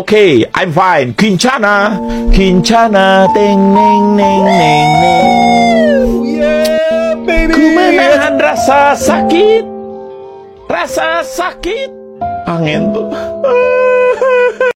Okay, I'm fine. Quinchana, Quinchana, ding, ding, ding, ding, ding. Yeah, baby. Ku menahan rasa sakit, rasa sakit. Angin tuh. Ah.